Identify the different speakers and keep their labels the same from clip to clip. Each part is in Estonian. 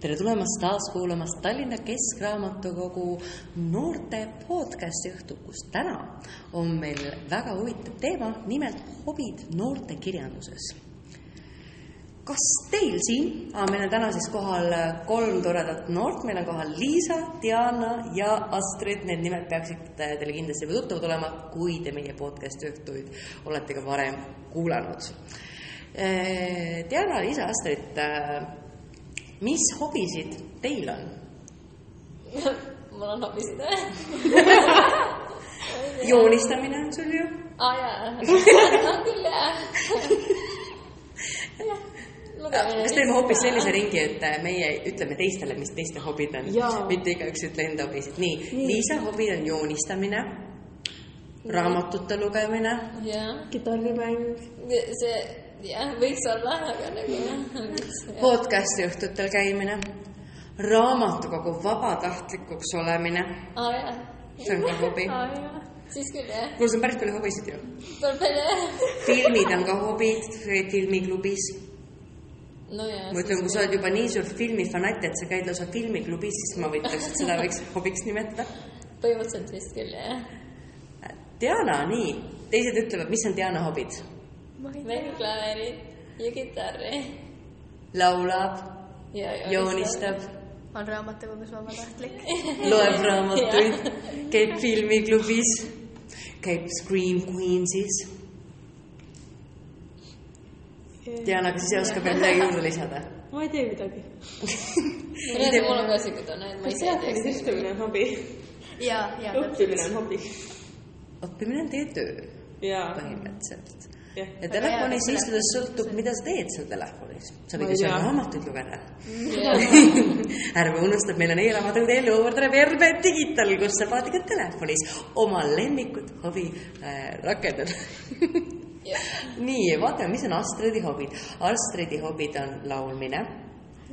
Speaker 1: tere tulemast taas kuulama Tallinna Keskraamatukogu noorte podcasti õhtu, kus täna on meil väga huvitav teema, nimelt hobid noortekirjanduses. kas teil siin, meil on täna siis kohal äh, kolm toredat noort, meil on kohal Liisa, Diana ja Astrid, need nimed peaksid äh, teile kindlasti juba tuttavad olema, kui te meie podcasti õhtuid olete ka varem kuulanud. Äh, Diana, Liisa, Astrid äh, mis hobisid teil on?
Speaker 2: mul on hobisid või ?
Speaker 1: joonistamine on sul ju
Speaker 2: aa Ah, jaa , on küll jah . lugemine .
Speaker 1: kas teeme hoopis sellise ? ringi , et äh, meie ütleme teistele , mis teiste hobid on
Speaker 2: Jaa. ,
Speaker 1: mitte igaüks ütle enda hobisid . nii,
Speaker 3: Nii.
Speaker 1: Liisa hobi on joonistamine , raamatute lugemine ,
Speaker 2: jah ,
Speaker 3: kitarrimäng ,
Speaker 2: see jah , võiks olla , aga nagu jah .
Speaker 1: podcast'i õhtutel käimine , raamatukogu vabatahtlikuks olemine ,
Speaker 2: aa Ah, jaa .
Speaker 1: see on ka hobi .
Speaker 2: aa jaa , siis küll jah ,
Speaker 1: kuule , sul on päris palju hobisid ju .
Speaker 2: tuleb välja jah .
Speaker 1: filmid on ka hobid , käid filmiklubis .
Speaker 2: no jaa .
Speaker 1: ma ütlen , kui sa oled juba nii suur filmifanatt , et sa käid lausa filmiklubis , siis ma ütleks , et seda võiks hobiks nimetada .
Speaker 2: põhimõtteliselt vist küll jah .
Speaker 1: Diana , nii , teised ütlevad , mis on Diana hobid ?
Speaker 2: mängin klaverit ja kitarri .
Speaker 1: laulab ,
Speaker 2: ja
Speaker 1: joonistab ,
Speaker 4: on raamatukogus vabatahtlik .
Speaker 1: loeb raamatuid , käib filmiklubis , käib Scream Queensis . Diana , kas ise oskab veel midagi juurde lisada ?
Speaker 3: ma ei tee midagi .
Speaker 2: reaalselt mul on ka siuke tunne , et ma
Speaker 3: kas
Speaker 2: ise ei
Speaker 3: teatris
Speaker 2: teeks
Speaker 3: istumine on hobi ?
Speaker 4: ja , ja .
Speaker 3: õppimine on hobi .
Speaker 1: õppimine on teie töö
Speaker 3: jaa ,
Speaker 1: põhimõtteliselt .
Speaker 3: jah .
Speaker 1: ja telefonis istudes sõltub , mida sa teed seal telefonis . sa
Speaker 3: Ma
Speaker 1: võid
Speaker 3: ei
Speaker 1: ju seal
Speaker 3: tea.
Speaker 1: raamatuid lugeda .
Speaker 2: midagi .
Speaker 1: ärme unusta , et meil on e-raamatu telli Overdrive Erbe Digital , kus sa vaatad ka telefonis oma lemmikut hobi äh, rakendada . nii , vaatame , mis on Astridi hobid . Astridi hobid on laulmine ,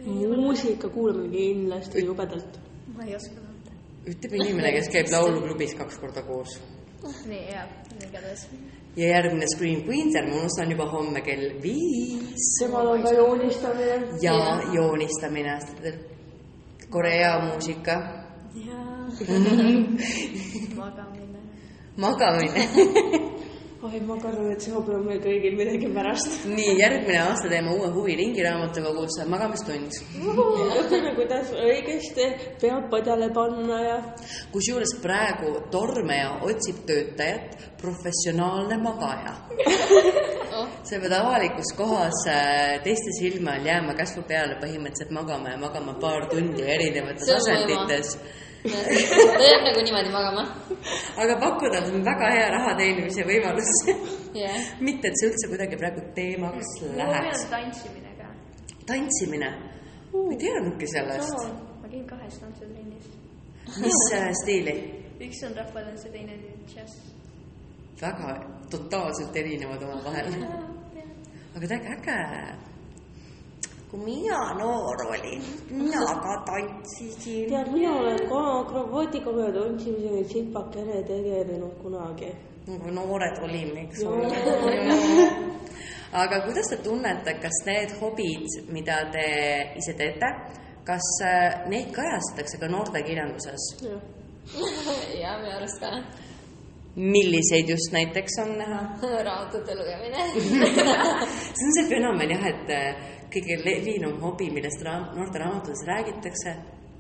Speaker 3: muusika kuulamine kindlasti jubedalt .
Speaker 4: ma ei oska tunda .
Speaker 1: ütleb inimene , kes käib lauluklubis kaks korda koos .
Speaker 4: nii , ja , igatahes .
Speaker 1: ja järgmine Scream Queens , ärme unusta , on juba homme kell viis
Speaker 3: temal on ka joonistamine .
Speaker 1: ja joonistamine . Korea muusika ,
Speaker 4: ja magamine .
Speaker 1: magamine
Speaker 3: oi , ma kardan , et see hobi on meil kõigil midagi pärast .
Speaker 1: nii , järgmine aasta teeme uue huviringi raamatukogus magamistund .
Speaker 3: õpime , kuidas õigesti pead padjale panna ja
Speaker 1: kusjuures praegu tormeja otsib töötajat , professionaalne magaja .
Speaker 2: Oh.
Speaker 1: sa pead avalikus kohas äh, teiste silme all jääma käsu peale põhimõtteliselt magama ja magama paar tundi erinevates
Speaker 2: See on mu ema.
Speaker 1: asendites .
Speaker 2: ta jääb nagu niimoodi magama .
Speaker 1: aga pakkuda on väga hea raha teenimise võimalus .
Speaker 2: jah ,
Speaker 1: mitte , et see üldse kuidagi praegu teemaks
Speaker 4: hobi
Speaker 1: läheks
Speaker 4: on . tantsimine ka .
Speaker 1: tantsimine , ma ei teadnudki sellest .
Speaker 4: ma käin kahes tantsutrennis .
Speaker 1: mis äh, stiili ?
Speaker 4: üks on rahvatants ja teine on džäss .
Speaker 1: väga totaalselt erinevad omavahel . aga täiega äge . kui mina noor olin , mina ka tantsisin .
Speaker 3: tead , mina olen ka akrobaatikaga ja tantsimisega tsipakene tegelenud kunagi .
Speaker 1: nagu noored olime , eks
Speaker 3: Jaa.
Speaker 1: ole . aga kuidas te tunnete , kas need hobid , mida te ise teete , kas äh, neid kajastatakse ka noortekirjanduses ?
Speaker 3: jah ,
Speaker 2: ja minu arust ka
Speaker 1: milliseid just näiteks on näha ?
Speaker 2: raamatute lugemine .
Speaker 1: see on see fenomen jah , et äh, kõige levinum hobi , millest raam- noorte raamatutes räägitakse ,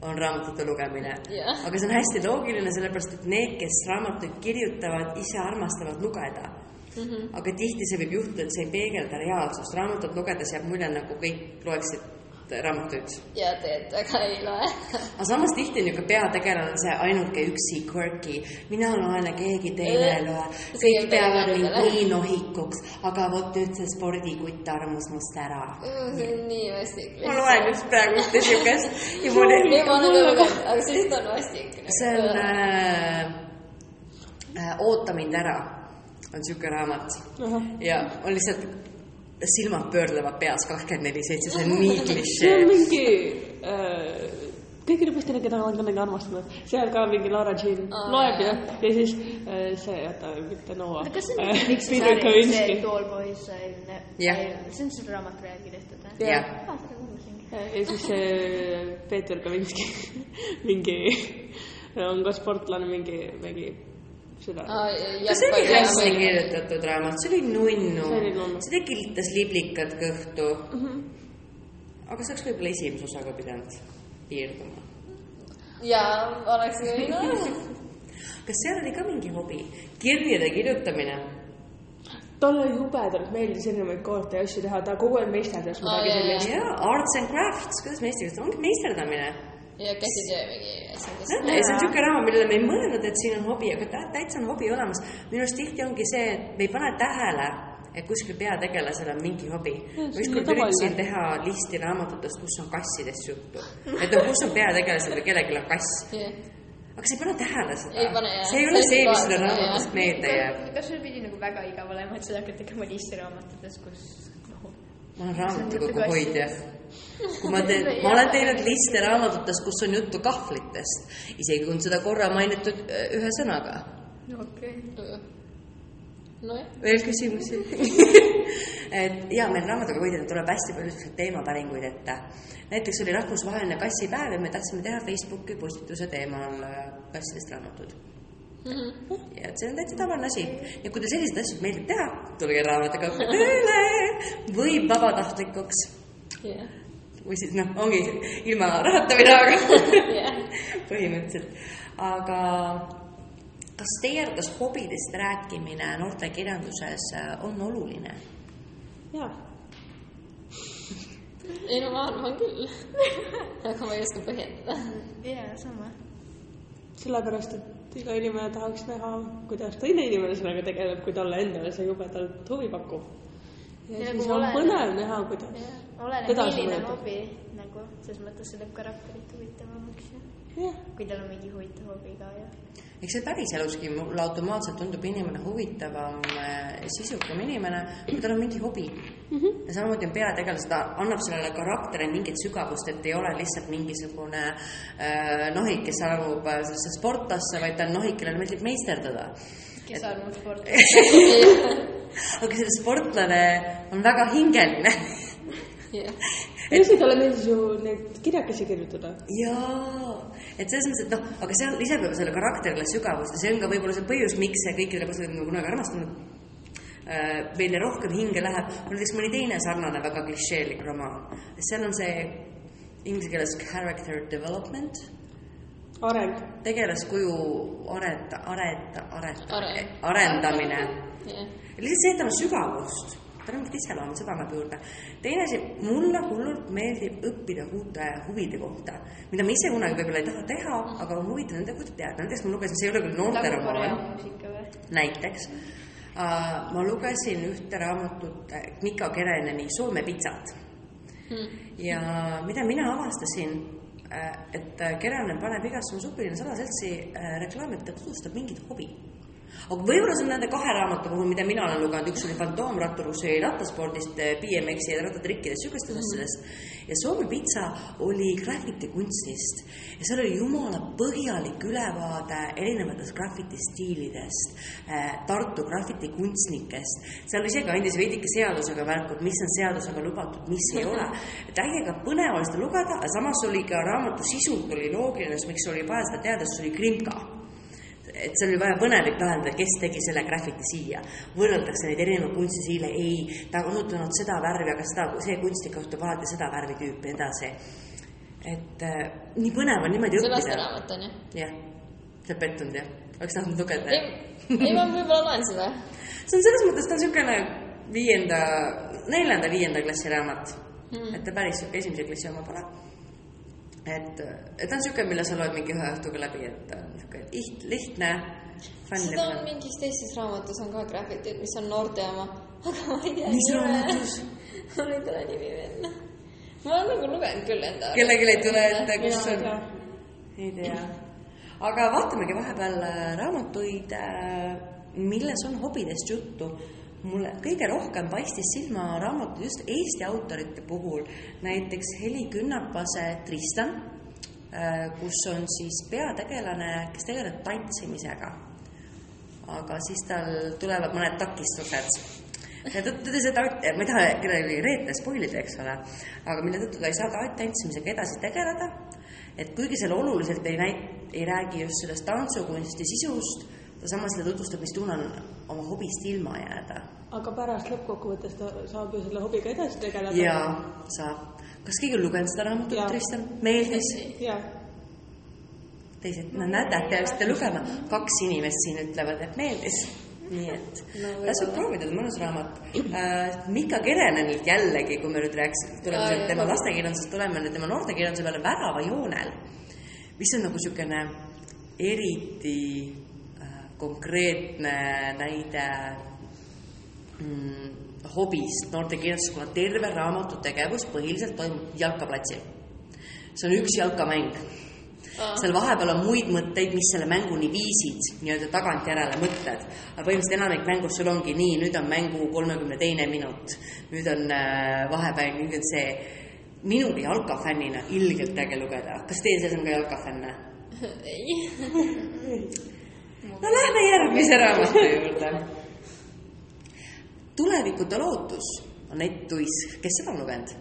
Speaker 1: on raamatute lugemine .
Speaker 2: Jah.
Speaker 1: aga see on hästi loogiline , sellepärast et need , kes raamatuid kirjutavad , ise armastavad lugeda mm . -hmm. aga tihti see võib juhtuda , et see ei peegelda reaalsust . raamatut lugedes jääb mulje , nagu kõik loeksid äh, raamatuid .
Speaker 2: ja teed väga ei loe .
Speaker 1: aga samas tihti on ju ka peategelane see ainuke üksi quirky , mina loen ja keegi teine ei loe ,
Speaker 2: See
Speaker 1: kõik
Speaker 2: jääb
Speaker 1: peavad
Speaker 2: peale
Speaker 1: mind
Speaker 2: endale.
Speaker 1: nii nohikuks , aga vot nüüd see spordikutt armus must ära .
Speaker 2: see on niin nii vastik .
Speaker 1: ma loen just praegu ühte siukest ja mul
Speaker 2: ei , ma
Speaker 1: on ,
Speaker 2: olen ka lugenud , aga see lihtsalt on vastik .
Speaker 1: see on äh, äh, Oota mind ära on siuke raamat
Speaker 3: ahah .
Speaker 1: ja on lihtsalt silmad pöörlevad peas kakskümmend neli seitse , see on nii
Speaker 3: see
Speaker 1: klišee
Speaker 3: on . mingi äh, , kõigile poistele , keda olen kunagi armastanud , seal ka mingi Laura Jean
Speaker 2: Aa,
Speaker 3: loeb ja
Speaker 2: jah. ,
Speaker 3: ja siis äh, see , oota , mitte Noa .
Speaker 4: aga kas see on mingi üks
Speaker 3: Ah, Peter
Speaker 4: sari , see
Speaker 3: Kavinski .
Speaker 4: Tall Boys on
Speaker 1: Jah. ,
Speaker 4: see on selle raamatu järgi tehtud või ?
Speaker 1: jah ,
Speaker 4: aa , seda kuulasin .
Speaker 3: Äh, ja siis see Peeter Kalinski mingi on ka sportlane mingi , mingi seda ah. .
Speaker 1: kas see oli hästi ? kirjutatud raamat , see oli nunnu
Speaker 3: See oli nunnu. ,
Speaker 1: see tekitas liblikad kõhtu . aga see oleks võib-olla esimese osaga pidanud piirduma .
Speaker 2: jaa , oleks võinud .
Speaker 1: kas seal oli ka mingi hobi ? kirjade kirjutamine .
Speaker 3: talle jubedalt meeldis erinevaid kaarte ja asju teha , ta kogu aeg meisterdas
Speaker 2: Aa,
Speaker 3: midagi
Speaker 2: jaa, jaa.
Speaker 3: sellist .
Speaker 1: jaa , arts and crafts , kuidas me eesti keeles , ongi meisterdamine .
Speaker 2: ja käsitöö mingi asjadest .
Speaker 1: näete , see on niisugune raam , millele me ei mõelnud , et siin on hobi , aga tä- täitsa on hobi olemas . minu arust tihti ongi see , et me ei pane tähele , et kuskil peategelasel on mingi hobi . ma
Speaker 3: see on
Speaker 1: ükskord
Speaker 3: tavaline.
Speaker 1: üritasin teha listi raamatutest , kus on kassidest juttu . et no kus on peategelasel või kellelgi on kass . aga sa ei pane tähele seda .
Speaker 2: Ei pane, jah.
Speaker 1: see ei ole
Speaker 2: Sa
Speaker 1: see ,
Speaker 2: lihtsalt
Speaker 1: mis sulle
Speaker 2: vaatad,
Speaker 1: raamatust meelde jääb .
Speaker 4: kas sul pidi nagu väga igav olema , et sa hakkad tegema listiraamatutes , kus noh ,
Speaker 1: ma olen raamatukogu hoidja . kui ma teen , ma olen teinud liste raamatutes , kus on juttu kahvlitest , isegi kui on seda korra mainitud öö, ühe sõnaga .
Speaker 4: no noh, okei okay. .
Speaker 2: nojah ,
Speaker 1: veel küsimusi ? et ja meil raamatuga hoidjana tuleb hästi palju selliseid teemapäringuid ette . näiteks oli rahvusvaheline kassipäev ja me tahtsime teha Facebooki postituse teemal äh, kassidest raamatud .
Speaker 2: Mhm.
Speaker 1: ja et see on täitsa tavaline asi ja kui teil selliseid asju meeldib teha , tulge raamatuga tööle või vabatahtlikuks
Speaker 2: jah .
Speaker 1: või siis noh , ongi ilma rahata või rahaga
Speaker 2: jah .
Speaker 1: põhimõtteliselt . aga kas teie arvates hobidest rääkimine noortekirjanduses äh, on oluline ?
Speaker 3: jaa .
Speaker 2: ei no ma arvan küll . aga ma ei oska põhjendada .
Speaker 4: jaa , sama .
Speaker 3: sellepärast , et iga inimene tahaks näha , kuidas teine inimene sellega tegeleb , kui talle endale see jubedalt huvi pakub . ja,
Speaker 4: Ja
Speaker 3: ja
Speaker 4: kui
Speaker 3: siis on
Speaker 4: oleneb-
Speaker 3: põnev näha , kuidas .
Speaker 4: oleneb ,
Speaker 3: Teda see
Speaker 4: milline
Speaker 3: mõjutab.
Speaker 4: hobi nagu , selles mõttes see teeb karakterit huvitavamaks ja
Speaker 3: jah ,
Speaker 4: kui tal on mingi huvitav hobi ka ja .
Speaker 1: eks see päriseluski mulle automaatselt tundub inimene huvitavam , sisukam inimene , kui tal on mingi hobi mm . -hmm. ja samamoodi on peategelased , ta annab sellele karakterile mingit sügavust , et ei ole lihtsalt mingisugune äh, nohik , kes armub äh, sellesse sportlasse , vaid ta on nohik , kellele meeldib meisterdada
Speaker 4: kes armub sporti .
Speaker 1: aga see sportlane on väga hingeline
Speaker 2: jah .
Speaker 3: üldse talle meeldis ju neid kirjakesi kirjutada .
Speaker 1: jaa , et selles mõttes , et noh , aga seal lisab juba selle karakterile sügavust ja see on ka võib-olla see põhjus , miks see kõikidele pole nagu kunagi armastanud äh, meile rohkem hinge läheb , on näiteks mõni teine sarnane väga klišeelik romaan . seal on see inglise keeles character development ,
Speaker 3: areng .
Speaker 1: tegelaskuju arenda , arenda , arenda
Speaker 2: Are- ,
Speaker 1: arendamine .
Speaker 2: jah .
Speaker 1: lihtsalt see , et tal on sügavust , tal on mingit iseloomu , seda annab juurde . teine asi , mulle hullult meeldib õppida uute huvide kohta , mida ma ise kunagi võib-olla ei taha teha , aga on huvitav nende kohta teada . näiteks ma lugesin , see ei ole küll
Speaker 4: Tagu-Korea
Speaker 1: noorteromaan ,
Speaker 4: muusika või ?
Speaker 1: näiteks äh, ma lugesin ühte raamatut äh, Mika Kereneni Soome pitsat ja mida mina avastasin , et Kerenen paneb igasse oma supiline salaseltsi äh, reklaami , et ta tutvustab mingit hobi . aga võib-olla see on nende kahe raamatu puhul , mida mina olen lugenud , üks oli Fantoomrattur , kus oli äh, rattaspordist , BMX-i ja rattatrikkidest , sihukestest asjadest . ja Soome pitsa oli graffitikunstist ja seal oli jumala põhjalik ülevaade erinevatest graffitistiilidest , Tartu graffitikunstnikest , seal isegi andis veidike seadusega märku , et mis on seadusega lubatud , mis ei ole . et ägega põnev oli seda lugeda , aga samas oli ka raamatu sisult oli loogiline , miks oli vaja seda teada , sest see oli krimka et see oli väga põnevik lahendada , kes tegi selle graffiti siia . võrreldakse neid erinevaid kunstisiile , ei , ta on kasutanud seda värvi , aga seda , see kunstnik kasutab alati seda värvi tüüpi ja nii edasi . et äh, nii põnev on niimoodi
Speaker 2: see
Speaker 1: õppida .
Speaker 2: lasteraamat on ju .
Speaker 1: jah , sa oled pettunud jah ? oleks tahtnud lugeda
Speaker 2: ei
Speaker 1: jah ?,
Speaker 2: ei ma võib-olla loen seda .
Speaker 1: see on selles mõttes , ta on niisugune viienda , neljanda-viienda klassi raamat mm. . et ta päris niisugune esimese klassi oma pole . et , et ta on niisugune , mille sa loed mingi ühe õhtuga läbi , et ta on niisugune liht- , lihtne , fun ja
Speaker 2: seda on
Speaker 1: põnev .
Speaker 2: mingis teises raamatus on ka graffitit , mis on noorte oma . aga ma ei tea .
Speaker 1: mis raamatus ?
Speaker 2: mul ei tule nimi meelde . ma olen nagu lugenud küll enda .
Speaker 1: kellelgi ei tule ette ,
Speaker 3: mina
Speaker 1: kus
Speaker 3: ei
Speaker 1: on
Speaker 3: tea ..
Speaker 1: ei tea . aga vaatamegi vahepeal äh, raamatuid , milles on hobidest juttu . mulle kõige rohkem paistis silma raamatud just Eesti autorite puhul , näiteks Heli Künnapase Tristan , kus on siis peategelane , kes tegeleb tantsimisega aga siis tal tulevad mõned takistused tõttu ta seda , eh, ma ei taha kellelegi reete spoilida , eks ole , aga mille tõttu ta ei saa ta- tantsimisega edasi tegeleda . et kuigi seal oluliselt ei näit- , ei räägi just sellest tantsukunsti sisust , ta samas seda tutvustab , mis tunne on oma hobist ilma jääda
Speaker 3: aga pärast lõppkokkuvõttes ta saab ju selle hobiga edasi tegeleda .
Speaker 1: ja saab . kas keegi on lugenud seda raamatut
Speaker 3: Jaa. ,
Speaker 1: Kristjan ? meeldis ?
Speaker 3: ja ,
Speaker 1: teised , no näete , te peaksite lugema , kaks inimest siin ütlevad , et meeldis . nii et
Speaker 2: No võib-olla.
Speaker 1: tasub proovida , ta on mõnus raamat äh, . Mika Kerenanilt jällegi , kui me nüüd rääkisime , tuleme
Speaker 2: Aa,
Speaker 1: sealt
Speaker 2: jah.
Speaker 1: tema lastekirjandusest , tuleme nüüd tema noortekirjanduse peale Väravajoonel , mis on nagu niisugune eriti äh, konkreetne näide mm, hobist noortekirjastuses , kuna terve raamatu tegevus põhiliselt toimub jalkaplatsil . see on üks jalkamäng seal vahepeal on muid mõtteid , mis selle mänguni viisid , nii-öelda tagantjärele mõtted . aga põhimõtteliselt enamik mängus sul ongi nii , nüüd on mängu kolmekümne teine minut , nüüd on äh, vahepeal , nüüd on see . minul jalkafännina ilgelt äge lugeda , kas teie seas on ka jalkafänne ?
Speaker 2: ei .
Speaker 1: no lähme järgmise raamatu juurde . tulevikuta lootus , Anett Tuisk , kes seda on lugenud ?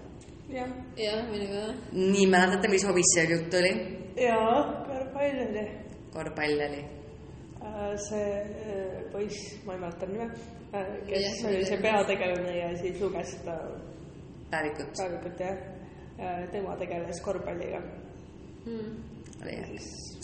Speaker 3: ja ,
Speaker 2: jah , minuga jah .
Speaker 1: nii , mäletate , mis hobis seal jutt oli ?
Speaker 3: ja korvpall oli
Speaker 1: korvpall oli
Speaker 3: Äh, see äh, poiss , ma ei mäleta nime ,
Speaker 2: Jah,
Speaker 3: kes
Speaker 2: see
Speaker 3: oli
Speaker 2: oli
Speaker 3: see
Speaker 2: tema.
Speaker 3: peategelane ja siis luges seda
Speaker 1: päevikut ,
Speaker 3: päevikut ja äh, tema tegeles korvpalliga .
Speaker 1: oli äge .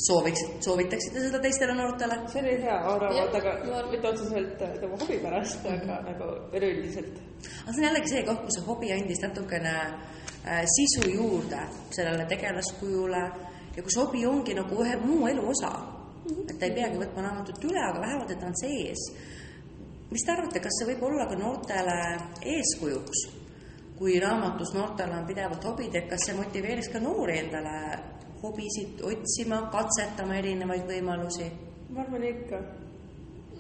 Speaker 1: sooviksid , soovitaksite seda teistele noortele ?
Speaker 3: see oli hea raamat ,
Speaker 2: Jah, ma
Speaker 3: aga
Speaker 2: arvan-
Speaker 3: mitte otseselt äh, tema hobi pärast , aga nagu üleüldiselt .
Speaker 1: aga see on jällegi see koht , kus see hobi andis natukene äh, sisu juurde sellele tegelaskujule ja kus hobi ongi nagu ühe muu elu osa . et ta ei peagi võtma raamatut üle , aga vähemalt , et ta on sees . mis te arvate , kas see võib olla ka noortele eeskujuks ? kui raamatus noortele on pidevalt hobid , et kas see motiveeriks ka noori endale hobisid otsima , katsetama erinevaid võimalusi ?
Speaker 3: ma arvan ikka .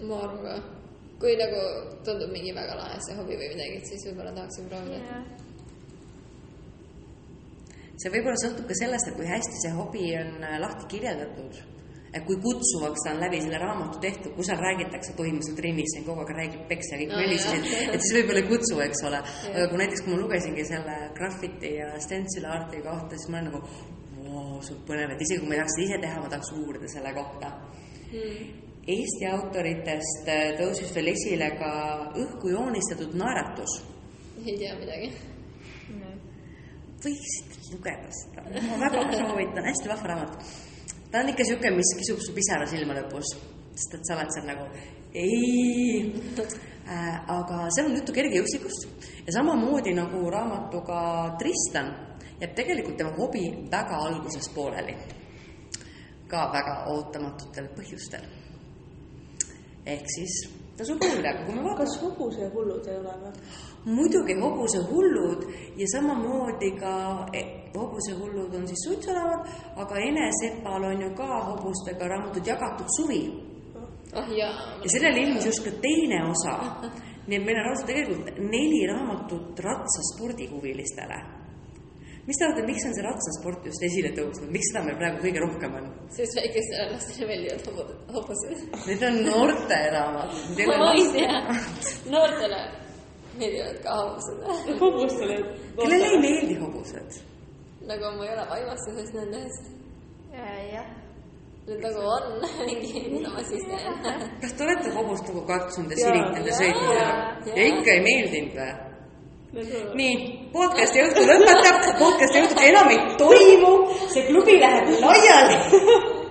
Speaker 2: ma arvan ka . kui nagu tundub mingi väga lahe see hobi või midagi , et siis võib-olla tahaksin proovida .
Speaker 4: jah .
Speaker 1: see võib-olla sõltub ka sellest , et kui hästi see hobi on äh, lahti kirjeldatud , et kui kutsuvaks ta on läbi selle raamatu tehtud , kui seal räägitakse põhimõtteliselt rinnis , siin kogu aeg räägib peksa ja kõik
Speaker 2: Aa,
Speaker 1: väliseid ,
Speaker 2: jah.
Speaker 1: et siis võib-olla ei kutsu , eks ole . aga kui näiteks , kui ma lugesingi selle graffiti ja stencil arti kohta , siis ma olen nagu , vau , see on põnev , et isegi kui ma ei tahaks seda ise teha , ma tahaks uurida selle kohta
Speaker 2: Hmm.
Speaker 1: Eesti autoritest äh, tõusis veel esile ka õhku joonistatud naeratus .
Speaker 2: ei tea midagi .
Speaker 1: võiksid lugeda seda , ma väga soovitan , hästi vahva raamat . ta on ikka niisugune , mis kisub su pisara silma lõpus , sest et sa oled seal nagu ei . aga seal on juttu kergejõustikust ja samamoodi nagu raamatuga Tristan jääb tegelikult tema hobi väga alguses pooleli . ka väga ootamatutel põhjustel . ehk siis tasub uurida , kui me vaatame
Speaker 3: kas hobuse hullud ei ole või ?
Speaker 1: muidugi hobusehullud ja samamoodi ka e- hobusehullud on siis suitsulavad , aga Enesepal on ju ka hobustega raamatud Jagatud suvi
Speaker 2: ah jaa .
Speaker 1: ja sellele ilmus just ka teine osa . nii et meil on lausa tegelikult neli raamatut ratsaspordihuvilistele . mis te arvate , miks on see ratsasport just esile tõusnud , miks seda meil praegu kõige rohkem on ?
Speaker 2: siis väikestele lastele meeldivad hobu- hobused .
Speaker 1: Need on noorte raamatud , need
Speaker 2: ma ei
Speaker 1: on ,
Speaker 2: tea . noortele meeldivad ka hobused .
Speaker 3: hobustele .
Speaker 1: kellele ei meeldi hobused ?
Speaker 2: nagu ma ei ole vaimastuses nende eest .
Speaker 4: jah .
Speaker 2: Need nagu on mingi , mida ma siis teen .
Speaker 1: kas te olete hobust nagu katsunud ja
Speaker 3: Jaa.
Speaker 1: silitanud ja sõitnud ja,
Speaker 2: Jaa.
Speaker 1: ja ikka ei meeldinud või ? nii , podcasti õhtu lõpetab , podcasti õhtut enam ei toimu , see klubi läheb laiali .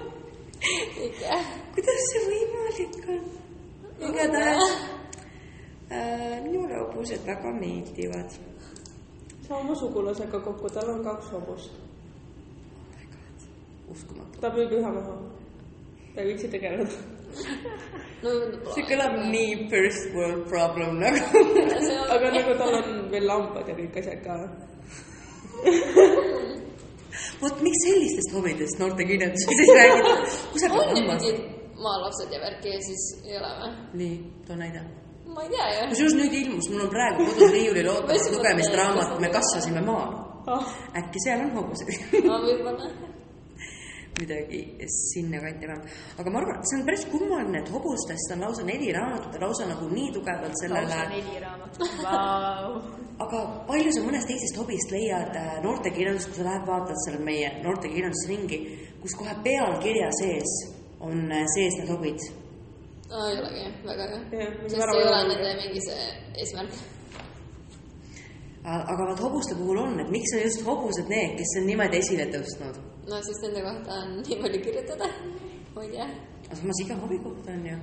Speaker 2: ikka .
Speaker 1: kuidas see võimalik on ? igatahes äh, minule hobused väga meeldivad .
Speaker 3: saa oma sugulasega kokku , tal on kaks hobust .
Speaker 1: uskumatu .
Speaker 3: ta müüb ühe maha . ta ei viitsi tegeleda .
Speaker 2: no tundub
Speaker 1: see kõlab nii first world problem nagu .
Speaker 2: lahe .
Speaker 3: aga nagu tal on veel lambad ja kõik asjad ka .
Speaker 1: vot miks sellistest hobidest noorte kirjanduses ei räägita ?
Speaker 2: on ju
Speaker 1: kusagil on .
Speaker 2: mingid maalapsed ja värki ja siis ei ole või ?
Speaker 1: nii , too näide
Speaker 2: ma ei tea ju .
Speaker 1: kusjuures nüüd ilmus , mul on praegu kodus riiulil ootamas lugemist raamat Me kasvasime maal .
Speaker 3: ah ,
Speaker 1: äkki seal on hobused ?
Speaker 2: ma võib-olla .
Speaker 1: midagi sinnakanti enam . aga ma arvan , see on päris kummaline , et hobustest on lausa neli raamatut ja lausa nagu nii tugevalt sellele
Speaker 4: lausa neli raamatut , vau .
Speaker 1: aga palju sa mõnest teisest hobist leiad äh, noortekirjandust , kui sa lähed vaatad seal meie noortekirjandusringi , kus kohe pealkirja sees on äh, sees need hobid ?
Speaker 2: aa , ei olegi , väga hea .
Speaker 3: Jah, mingi
Speaker 2: sest ei ole
Speaker 3: väravalamine.
Speaker 2: nende mingi see eesmärk .
Speaker 1: aga vot hobuste puhul on , et miks on just hobused need , kes on niimoodi esile tõstnud ?
Speaker 2: no siis nende kohta on nii palju kirjutada , ma ei tea .
Speaker 1: aga samas iga hobi kohta on ju .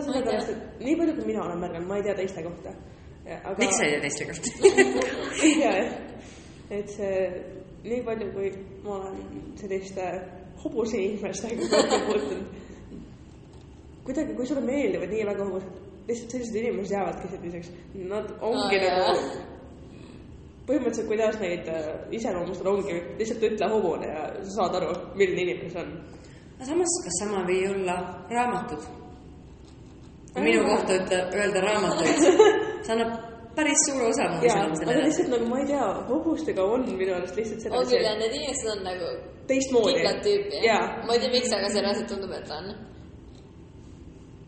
Speaker 2: Ma ei tea.
Speaker 3: sellepärast , et nii palju , kui mina olen märganud , ma ei tea teiste kohta . aga
Speaker 1: miks sa ei tee teiste kohta ?
Speaker 3: ei tea jah . et see , nii palju , kui ma olen selliste hobuse inimestega kokku puutunud , kuidagi , kui sulle meeldivad nii väga hobused , lihtsalt sellised inimesed jäävadki selliseks , nad ongi
Speaker 2: Aa,
Speaker 3: nagu
Speaker 2: Ah, jaa.
Speaker 3: põhimõtteliselt , kuidas neid äh, iseloomustada , ongi lihtsalt ütle hobune ja sa saad aru , milline inimene see on .
Speaker 1: aga samas , kas sama või ei olla raamatud ? kui minu kohta ütle , öelda raamatuid , see annab päris suure osa mu
Speaker 3: jaa , aga
Speaker 1: iseloomusele .
Speaker 3: lihtsalt nagu ma ei tea , hobustega on minu arust lihtsalt
Speaker 2: on küll jah ,
Speaker 3: selline
Speaker 2: need inimesed on nagu
Speaker 3: teistmoodi .
Speaker 2: kindlad tüüpi
Speaker 3: jaa ,
Speaker 2: ma ei tea , miks , aga see reaalselt tundub , et on .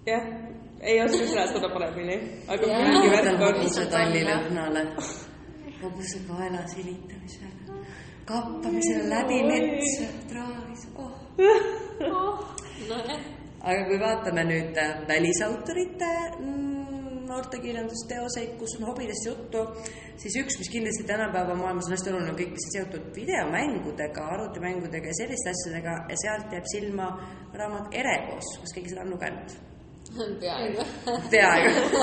Speaker 3: jah , ei oska seletada paremini , aga
Speaker 2: Jaa.
Speaker 3: mingi värk on .
Speaker 1: hobuse tallile õhnale , hobuse kaela silitamisele , kappamisele läbi
Speaker 3: Oi.
Speaker 1: metsa , traavis , oh .
Speaker 2: nojah ,
Speaker 1: aga kui vaatame nüüd äh, välisautorite mm, noortekirjandusteoseid , kus on hobidest juttu , siis üks , mis kindlasti tänapäeva maailmas on hästi oluline , on kõik , mis on seotud videomängudega , arvutimängudega ja selliste asjadega ja sealt jääb silma raamat Erebos , kas keegi seda on lugenud ?
Speaker 2: peaaegu .
Speaker 1: peaaegu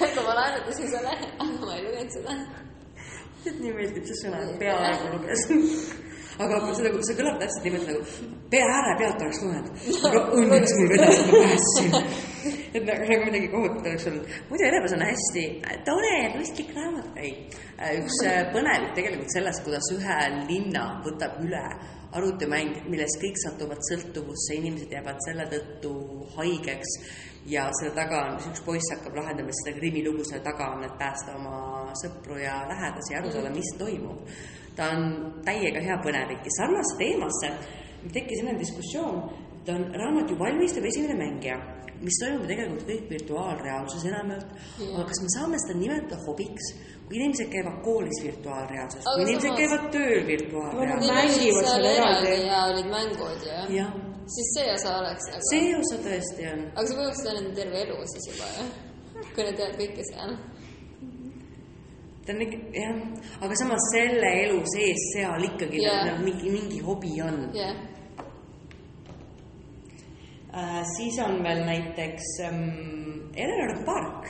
Speaker 2: aga ma laenates ei ole , aga ma ei lugenud seda .
Speaker 1: et nii meeldib see sõna , peaaegu luges . aga see nagu , see kõlab täpselt niimoodi nagu pea ääre pealt oleks tulnud , aga õnneks mul vedas , ma päästsin . et nagu, nagu midagi kohutavat oleks olnud . muidu Erebas on hästi tore ja mõistlik raamat , ei , üks äh, põnevik tegelikult sellest , kuidas ühe linna võtab üle arvutimäng , milles kõik satuvad sõltuvusse , inimesed jäävad selle tõttu haigeks ja selle taga on , üks poiss hakkab lahendama seda krimilugu , selle taga on , et päästa oma sõpru ja lähedasi ja aru saada , mis toimub . ta on täiega hea põnevik ja sarnase teemasse tekkis enne diskussioon , et on raamat ju valmistab esimene mängija , mis toimub tegelikult kõik virtuaalreaalsuses enamjaalt , aga kas me saame seda nimetada hobiks , kui inimesed käivad koolis virtuaalreaalsuses ,
Speaker 2: Aga
Speaker 1: kui inimesed
Speaker 2: samas-
Speaker 1: käivad tööl virtuaalreaalsuses ,
Speaker 3: mängivad seal eraldi.
Speaker 2: ja olid mängud ja ,
Speaker 1: jah ,
Speaker 2: siis see osa oleks nagu .
Speaker 1: see osa tõesti on
Speaker 2: aga see peaks olema nende terve elu siis juba ju , kui nad teavad kõike seal .
Speaker 1: ta on ikka , jah , aga samas selle elu sees seal ikkagi
Speaker 2: Jaa.
Speaker 1: yeah. mingi , mingi hobi on
Speaker 2: jah ,
Speaker 1: äh, . siis on veel näiteks ähm, Eleanor Park ,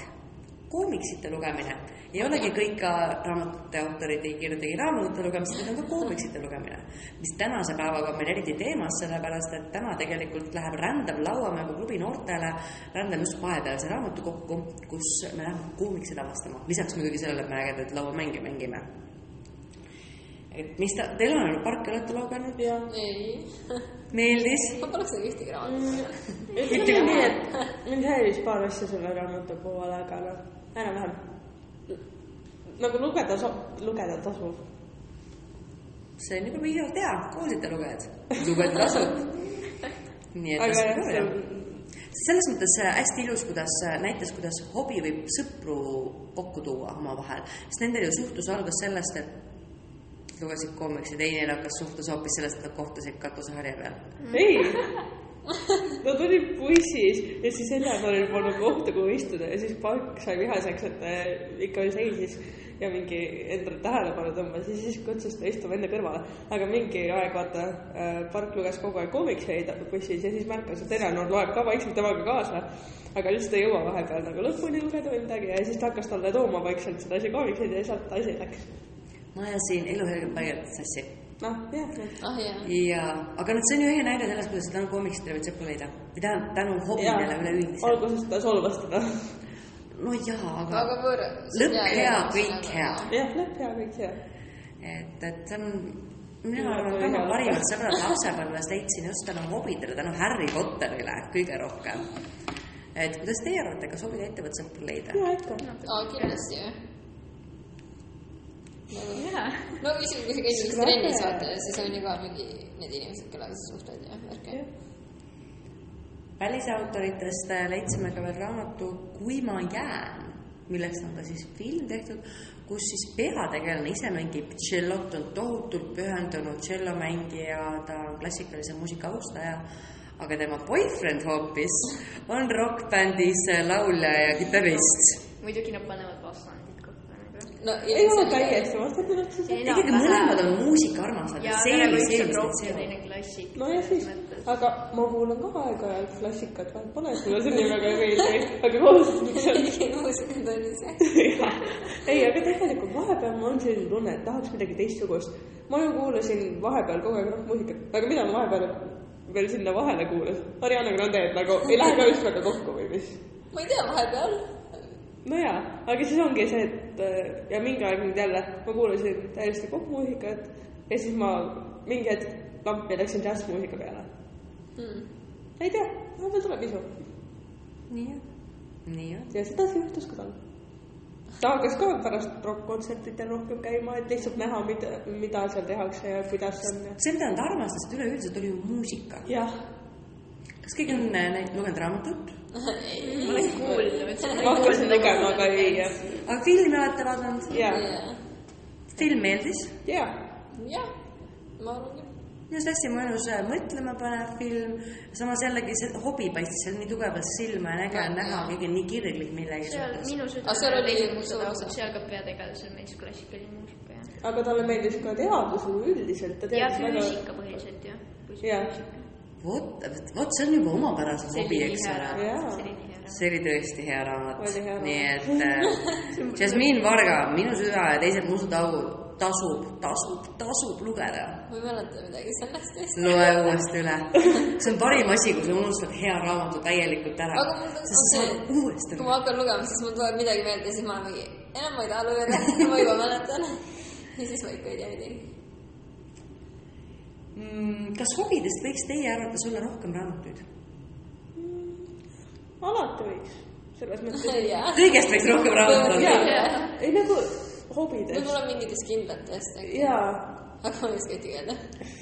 Speaker 1: koomiksite lugemine . ei olegi kõik ka raamatute autorid ei kirjutagi raamatute lugemist , vaid on ka koomiksite lugemine . mis tänase päevaga on meil eriti teemas , sellepärast et täna tegelikult läheb rändav lauamänguklubi noortele , rändame just vahepealse raamatu kokku , kus me läheme koomikseid avastama . lisaks muidugi sellele , et me ägedat lauamänge mängime . et mis ta , teil on park , olete lugenud ?
Speaker 3: jaa .
Speaker 2: ei ,
Speaker 1: meeldis ?
Speaker 2: ma poleks nagu ühtegi raamatut .
Speaker 3: Mm, ütleme nii , et mind häiris paar asja selle raamatu puhul , aga noh , enam-vähem . nagu lugeda saab , lugeda tasub .
Speaker 1: see on nagu juba piisavalt hea , kuulsite lugejad , lugejad tasub . nii et
Speaker 3: aga
Speaker 1: las-
Speaker 3: jah , see on ,
Speaker 1: selles mõttes äh, hästi ilus , kuidas äh, näitas , kuidas hobi võib sõpru kokku tuua omavahel , sest nendel ju suhtlus algas sellest , et lugesid koomiksi , teine hakkas suhtlus hoopis sellest , et nad kohtusid katuseharja peal .
Speaker 3: ei . Nad olid bussis ja siis Eleanoril polnud kohta , kuhu istuda ja siis Park sai vihaseks , et ta ikka veel seisis ja mingi endale tähelepanu tõmbas ja siis kutsus ta istuma enda kõrvale . aga mingi aeg , vaata , Park luges kogu aeg koomikseid bussis ja siis märkas , et Eleanor loeb ka vaikselt temaga kaasa . aga lihtsalt ei jõua vahepeal nagu lõpuni lugeda või midagi ja siis ta hakkas talle tooma vaikselt sedasi koomikseid ja sealt asi läks .
Speaker 1: ma ajasin eluhelged paigad sassi
Speaker 3: noh , jah ,
Speaker 2: ah jaa ,
Speaker 1: ja , aga nüüd see on ju ühe näide sellest , kuidas tänu koomikstele võib sõpru leida või tänu , tänu hobidele üleüldiselt .
Speaker 3: alguses ta solvas teda .
Speaker 1: no jaa , aga
Speaker 2: aga võõr .
Speaker 1: lõpp hea , kõik hea .
Speaker 3: jah , lõpp hea , kõik hea
Speaker 1: et , et see on , mina
Speaker 3: Mina
Speaker 1: arvan , et oma
Speaker 3: ka ei
Speaker 1: parimad sõbrad lapsepõlves leidsin just tänu hobidele , tänu Harry Potterile kõige rohkem . et kuidas teie arvate , kas hobid aitavad sõpru leida ?
Speaker 3: ja ikka .
Speaker 2: aa , kindlasti ju . nagu
Speaker 4: jaa .
Speaker 2: no isegi kui sa käid mingis
Speaker 1: Väga.
Speaker 2: trennis vaata , siis on ju ka mingi need inimesed , kellega sa suhtled ja värki .
Speaker 1: välisautoritest äh, leidsime ka veel raamatu Kui ma jään , millest on ka siis film tehtud , kus siis peategelane ise mängib tšellot , on tohutult pühendunud tšellomängija , ta on klassikalise muusika austaja , aga tema boyfriend hoopis on rokkbändis äh, laulja ja kitarrist .
Speaker 4: muidugi nad panevad vastandid kokku nagu .
Speaker 2: no
Speaker 3: ei ole . täiesti vastatud otsus .
Speaker 1: ikkagi mõlemad on muusikaarmastajad ,
Speaker 4: jaa ,
Speaker 1: see
Speaker 4: aga
Speaker 1: oli
Speaker 4: üks
Speaker 1: see ,
Speaker 4: on
Speaker 1: mis nad
Speaker 4: rohkem ,
Speaker 1: seovad .
Speaker 4: teine klassik .
Speaker 3: no ja siis , aga ma kuulan ka aeg-ajalt klassikat , vahel pole sulle see nii väga ei meeldi , aga kohustuslik
Speaker 2: muusikud on ju see .
Speaker 3: on . ei , aga tegelikult vahepeal mul on selline tunne , et tahaks midagi teistsugust . ma ju kuulasin vahepeal kogu aeg rokkmuusikat , aga mida ma vahepeal veel sinna vahele kuulasin ? Ariana Grande , et nagu ei lähe ka just väga kokku või mis ?
Speaker 2: ma ei tea , vahepeal .
Speaker 3: nojaa , aga siis ongi see , et äh, ja mingi aeg nüüd jälle ma kuulasin täiesti popmuusikat ja siis ma mingi hetk lampi läksin džässmuusika peale .
Speaker 2: Hmm.
Speaker 3: ei tea , vahepeal tuleb isu
Speaker 1: nii on , nii on .
Speaker 3: ja sedasi juhtus ka tal . ta hakkas ka pärast rokkkontsertidel rohkem käima , et lihtsalt näha , mida , mida seal tehakse ja kuidas on ja .
Speaker 1: see , mida nad armastasid üleüldiselt , oli ju muusika .
Speaker 3: jah ,
Speaker 1: kas keegi on äh, näit- lugenud raamatut ?
Speaker 4: ma olen kuulnud .
Speaker 3: ma hakkasin lugema , aga ei , jah .
Speaker 1: aga filmi olete vaadanud ?
Speaker 3: ja ,
Speaker 1: film meeldis ,
Speaker 3: ja ,
Speaker 2: jah , ma arvan küll .
Speaker 1: minu arust hästi mõnus äh, mõtlemapanev film , samas jällegi see hobi paistis seal nii tugevalt silma ja äge on näha , keegi on nii kirglik millegi
Speaker 4: seal
Speaker 1: suhtes .
Speaker 4: minu
Speaker 2: Aga seal oli
Speaker 4: südames
Speaker 2: suur osa. ,
Speaker 4: seal ka peategelasel mees klassikaline muusika ja ,
Speaker 3: aga talle meeldis ka teadus üldiselt . ta
Speaker 4: ja
Speaker 3: teadis väga ,
Speaker 4: füüsika põhiliselt jah .
Speaker 3: Jaa.
Speaker 1: vot , vot see on juba omapärasem hobi , eks ole .
Speaker 3: Jaa.
Speaker 1: see oli tõesti hea raamat
Speaker 3: Oli hea .
Speaker 1: nii et äh, Jasmin Varga , Minu süda ja teised mustad augud , tasub , tasub , tasub lugeda .
Speaker 2: ma ei mäleta midagi sellest vist .
Speaker 1: loe uuesti üle . see on parim asi , kui sa unustad hea raamatu täielikult ära
Speaker 2: Aga mul .
Speaker 1: sa saad uuesti
Speaker 2: kui ma hakkan lugema , siis mul tuleb midagi meelde , siis ma olen mingi , enam ma ei taha lugeda , ma juba mäletan . ja siis ma ikka ei tea midagi .
Speaker 1: mm, . kas hobidest võiks teie arvates olla rohkem raamatuid ?
Speaker 3: alati võiks , selles mõttes .
Speaker 2: jah .
Speaker 1: kõigest võiks rohkem raamatuid olla .
Speaker 3: jaa , ei nagu hobidest .
Speaker 2: võib-olla mingites kindlates ,
Speaker 3: jaa ,
Speaker 2: aga ma ei oska ühtegi öelda .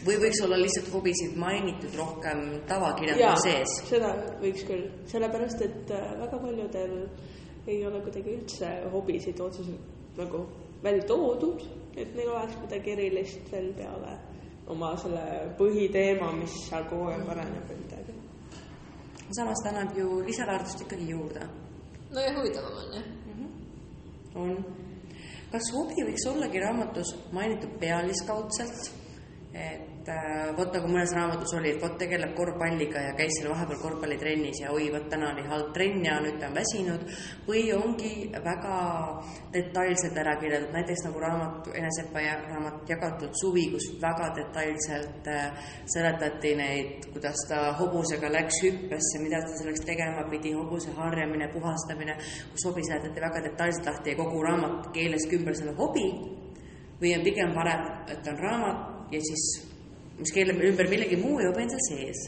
Speaker 1: või võiks olla lihtsalt hobisid mainitud rohkem
Speaker 3: jaa ,
Speaker 1: tavakirjanduse nagu sees .
Speaker 3: seda võiks küll , sellepärast et äh, väga paljudel ei ole kuidagi üldse hobisid otseselt nagu välja toodud , et neil oleks midagi erilist veel peale oma selle põhiteema , mis seal kogu aeg areneb või midagi .
Speaker 1: samas ta annab ju lisaväärtust ikkagi juurde .
Speaker 2: no ja huvitavam on jah .
Speaker 1: on . kas hobi võiks ollagi raamatus mainitud pealiskaudselt ? et äh, vot nagu mõnes raamatus oli , et vot tegeleb korvpalliga ja käis seal vahepeal korvpallitrennis ja oi , vot täna oli halb trenn ja nüüd ta on väsinud või ongi väga detailselt ära kirjeldatud , näiteks nagu raamat , Enesepa ja- raamat Jagatud suvi , kus väga detailselt äh, seletati neid , kuidas ta hobusega läks hüppesse , mida ta selleks tegema pidi , hobuse harjamine , puhastamine , kus hobi seletati väga detailselt lahti ja kogu raamat keeles ümber selle hobi või on pigem parem , et on raamat ja siis , mis keeleb ümber millegi muu ja hobi on seal sees .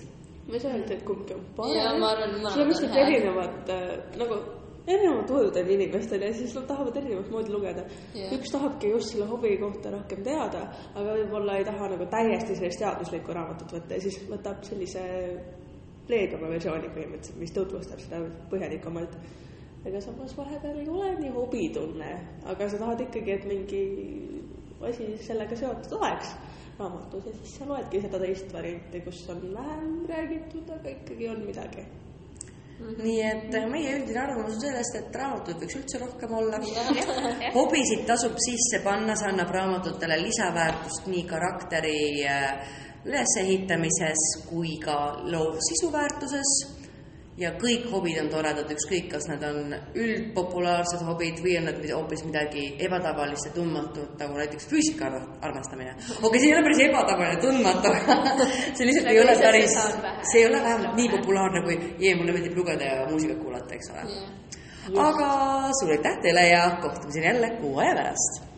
Speaker 3: ma ei saa öelda , et kumbki on
Speaker 2: Jaa, ma arvan,
Speaker 3: parem
Speaker 2: mõlemad ,
Speaker 3: sellepärast
Speaker 2: on
Speaker 3: et
Speaker 2: head.
Speaker 3: erinevad äh, nagu , erinevad oludel inimestel ja siis nad tahavad erinevat moodi lugeda
Speaker 2: Jah.
Speaker 3: yeah. . üks tahabki just selle hobi kohta rohkem teada , aga võib-olla ei taha nagu täiesti sellist teaduslikku raamatut võtta ja siis võtab sellise leebema versiooni põhimõtteliselt , mis tutvustab seda põhjalikumalt . aga samas vahepeal ei ole nii hobitunne , aga sa tahad ikkagi , et mingi asi sellega seotud oleks raamatus ja siis sa loedki seda teist varianti , kus on vähem räägitud , aga ikkagi on midagi .
Speaker 1: nii et äh, meie üldine arvamus on sellest , et raamatuid võiks üldse rohkem olla . hobisid tasub sisse panna , see annab raamatutele lisaväärtust nii karakteri äh, ülesehitamises kui ka loov sisuväärtuses ja kõik hobid on toredad , ükskõik , kas need on üldpopulaarsed hobid või on nad mid- hoopis midagi ebatavalist ja tundmatut , nagu näiteks füüsika arva- armastamine . okei , see ei ole päris ebatavaline , tundmatu , aga see lihtsalt ei
Speaker 4: Aga
Speaker 1: ole
Speaker 4: Nagu lihtsalt
Speaker 1: päris
Speaker 4: seda on vähe. ,
Speaker 1: see ei ole vähemalt nii populaarne kui Jee , mulle meeldib lugeda ja muusikat kuulata , eks ole . aga suur aitäh teile ja kohtumiseni jälle kuu aja pärast